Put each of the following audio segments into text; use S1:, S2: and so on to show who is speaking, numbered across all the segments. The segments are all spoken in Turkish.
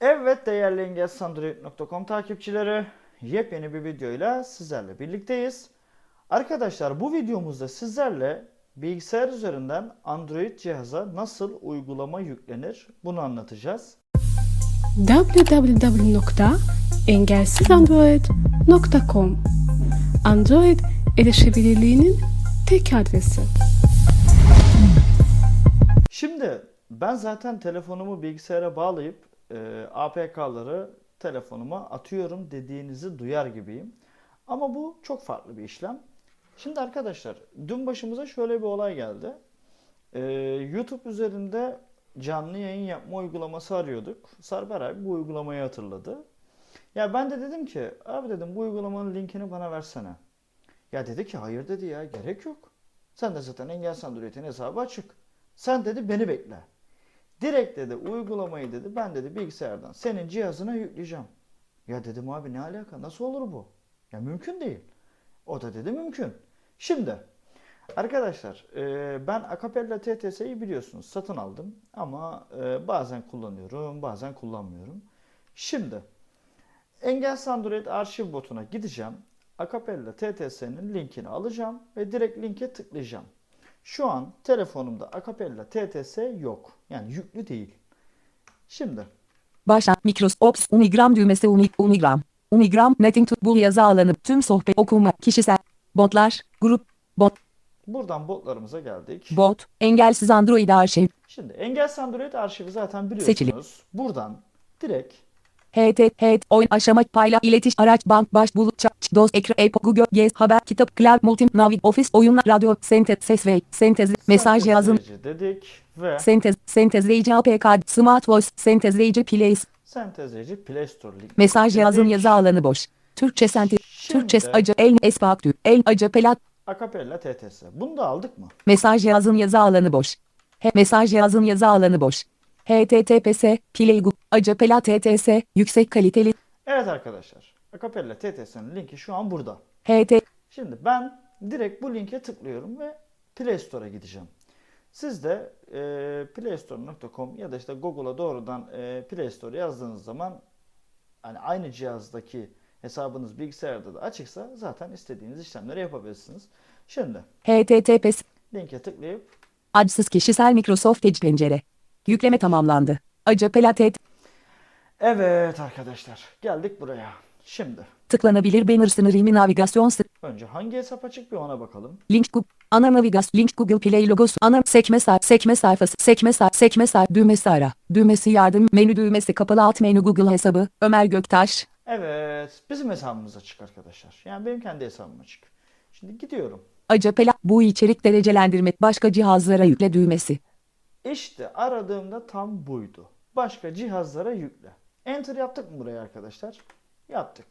S1: Evet değerli engelsandroid.com takipçileri yepyeni bir videoyla sizlerle birlikteyiz. Arkadaşlar bu videomuzda sizlerle bilgisayar üzerinden Android cihaza nasıl uygulama yüklenir bunu anlatacağız.
S2: www.engelsizandroid.com Android erişebilirliğinin tek adresi.
S1: Şimdi ben zaten telefonumu bilgisayara bağlayıp e, APK'ları telefonuma atıyorum dediğinizi duyar gibiyim. Ama bu çok farklı bir işlem. Şimdi arkadaşlar dün başımıza şöyle bir olay geldi. E, YouTube üzerinde canlı yayın yapma uygulaması arıyorduk. Sarper abi bu uygulamayı hatırladı. Ya ben de dedim ki abi dedim bu uygulamanın linkini bana versene. Ya dedi ki hayır dedi ya gerek yok. Sen de zaten engel sandalyetin hesabı açık. Sen dedi beni bekle. Direkt dedi uygulamayı dedi ben dedi bilgisayardan senin cihazına yükleyeceğim. Ya dedim abi ne alaka nasıl olur bu? Ya mümkün değil. O da dedi mümkün. Şimdi arkadaşlar e, ben Acapella TTS'yi biliyorsunuz satın aldım ama e, bazen kullanıyorum bazen kullanmıyorum. Şimdi Engel Sandroid arşiv botuna gideceğim. Acapella TTS'nin linkini alacağım ve direkt linke tıklayacağım. Şu an telefonumda Acapella TTS yok. Yani yüklü değil. Şimdi
S3: Başlat Micros Ops Unigram düğmesi Uni- Unigram. Unigram Netting to Bool yazı alanı tüm sohbet okuma kişisel botlar grup bot
S1: buradan botlarımıza geldik.
S3: bot engelsiz Android arşiv
S1: Şimdi Engel Sandroid arşivi zaten biliyorsunuz. Buradan direkt
S3: HT HT oyun aşama payla iletiş araç bank baş bulut çaç dost ekran epo google gez haber kitap klav multi navi ofis oyunlar radyo sentez ses ve sentez mesaj
S1: saklı
S3: yazın
S1: süreci dedik ve
S3: sentez sentezleyici apk smart voice sentezleyici play
S1: sentezleyici Play Store linki.
S3: mesaj yazın
S1: dedik.
S3: yazı alanı boş Türkçe sentez
S1: Şimdi-
S3: Türkçe acı el espaktü el acı pelat
S1: Acapella TTS. Bunu da aldık mı?
S3: Mesaj yazın yazı alanı boş. He, mesaj yazın yazı alanı boş. HTTPS, Playgroup, Acapela TTS, yüksek kaliteli,
S1: Evet arkadaşlar. Acapella TTS'nin linki şu an burada.
S3: HT,
S1: Şimdi ben direkt bu linke tıklıyorum ve Play Store'a gideceğim. Siz de e, playstore.com ya da işte Google'a doğrudan e, Play Store yazdığınız zaman hani aynı cihazdaki hesabınız bilgisayarda da açıksa zaten istediğiniz işlemleri yapabilirsiniz. Şimdi
S3: HTTPS,
S1: linke tıklayıp
S3: adsız kişisel Microsoft Edge pencere. Yükleme tamamlandı. Acapela TT,
S1: evet arkadaşlar geldik buraya. Şimdi
S3: tıklanabilir banner sınırı navigasyon sı-
S1: önce hangi hesap açık bir ona bakalım.
S3: Link Google, ana navigas, link Google Play logosu, ana sekme say, sekme sayfası, sekme say, sekme say, düğmesi ara, düğmesi yardım, menü düğmesi kapalı alt menü Google hesabı, Ömer Göktaş,
S1: Evet bizim hesabımız açık arkadaşlar. Yani benim kendi hesabım açık. Şimdi gidiyorum.
S3: Acapela, bu içerik derecelendirme, başka cihazlara yükle düğmesi.
S1: İşte aradığımda tam buydu. Başka cihazlara yükle. Enter yaptık mı buraya arkadaşlar? Yaptık.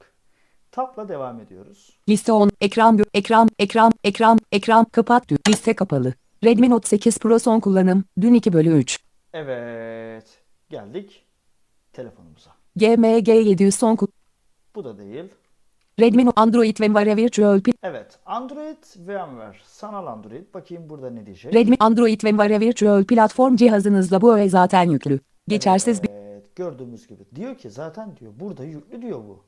S1: Tab'la devam ediyoruz.
S3: Liste 10. Ekran gö- ekran ekran ekran ekran kapat düğ- Liste kapalı. Redmi Note 8 Pro son kullanım. Dün 2 bölü 3.
S1: Evet. Geldik telefonumuza.
S3: GMG 700 son kul-
S1: Bu da değil.
S3: Redmi Note Android VMware Virtual Pi-
S1: Evet. Android VMware. Sanal Android. Bakayım burada ne diyecek.
S3: Redmi Android VMware Virtual Platform cihazınızla bu öğe zaten yüklü. Geçersiz bir
S1: Evet. Gördüğümüz gibi. Diyor ki zaten diyor burada yüklü diyor bu.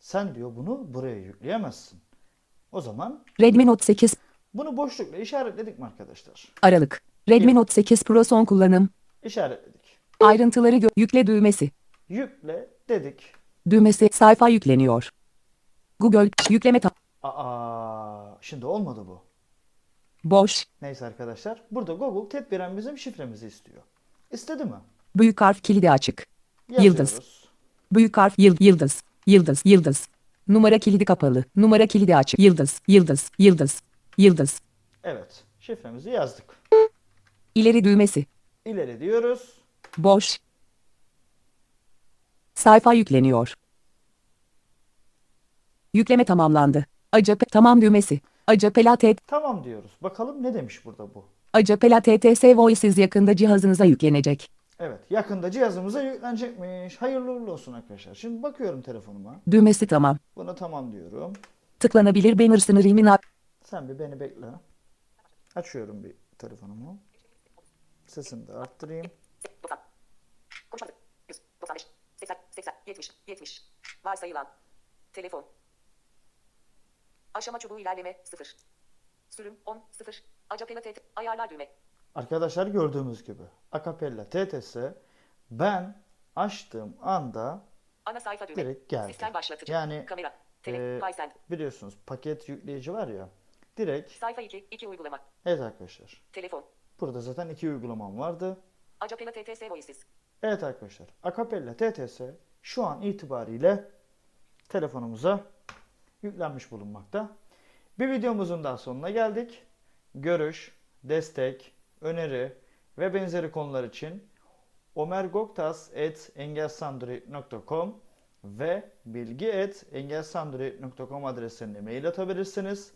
S1: Sen diyor bunu buraya yükleyemezsin. O zaman
S3: Redmi Note 8
S1: bunu boşlukla işaretledik mi arkadaşlar?
S3: Aralık. Redmi Note 8 Pro son kullanım.
S1: İşaretledik.
S3: Ayrıntıları gö- yükle düğmesi.
S1: Yükle dedik.
S3: Düğmesi sayfa yükleniyor. Google yükleme ta-
S1: Aa, şimdi olmadı bu.
S3: boş
S1: Neyse arkadaşlar. Burada Google tedbiren bizim şifremizi istiyor. İstedi mi?
S3: büyük harf kilidi açık. Yıldız.
S1: Yazıyoruz.
S3: Büyük harf yıl, yıldız, yıldız, yıldız. Numara kilidi kapalı, numara kilidi açık. Yıldız, yıldız, yıldız, yıldız.
S1: Evet. Şifremizi yazdık.
S3: İleri düğmesi,
S1: İleri diyoruz.
S3: boş. Sayfa yükleniyor. Yükleme tamamlandı. Acap tamam düğmesi. Acapela TT,
S1: Tamam diyoruz. Bakalım ne demiş burada bu?
S3: Acapela TTS Voices yakında cihazınıza yüklenecek.
S1: Evet. Yakında cihazımıza yüklenecekmiş. Hayırlı uğurlu olsun arkadaşlar. Şimdi bakıyorum telefonuma.
S3: Düğmesi tamam.
S1: Buna tamam diyorum.
S3: Tıklanabilir banner sınırı imin a-
S1: Sen bir beni bekle. Açıyorum bir telefonumu. Sesini de arttırayım.
S4: 90. Konuşmadık. 100. 95. 80.
S3: 70. Varsayılan. Telefon. Aşama çubuğu ilerleme 0. Sürüm 10 0. Acapella TT. Ayarlar düğme.
S1: Arkadaşlar gördüğümüz gibi akapella TTS ben açtığım anda
S3: Ana sayfa düğme.
S1: direkt geldi.
S3: Sistem başlatıcı.
S1: Yani
S3: Kamera. Tele.
S1: e,
S3: Paysend.
S1: biliyorsunuz paket yükleyici var ya direkt
S3: Sayfa 2. 2 uygulama.
S1: evet arkadaşlar
S3: Telefon.
S1: burada zaten iki uygulamam vardı.
S3: Acapella TTS Voices.
S1: Evet arkadaşlar akapella TTS şu an itibariyle telefonumuza yüklenmiş bulunmakta. Bir videomuzun daha sonuna geldik. Görüş, destek, öneri ve benzeri konular için omergoktas.engelsandroid.com ve bilgi.engelsandroid.com adreslerine mail atabilirsiniz.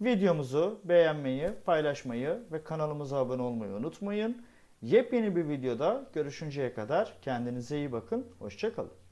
S1: Videomuzu beğenmeyi, paylaşmayı ve kanalımıza abone olmayı unutmayın. Yepyeni bir videoda görüşünceye kadar kendinize iyi bakın. Hoşçakalın.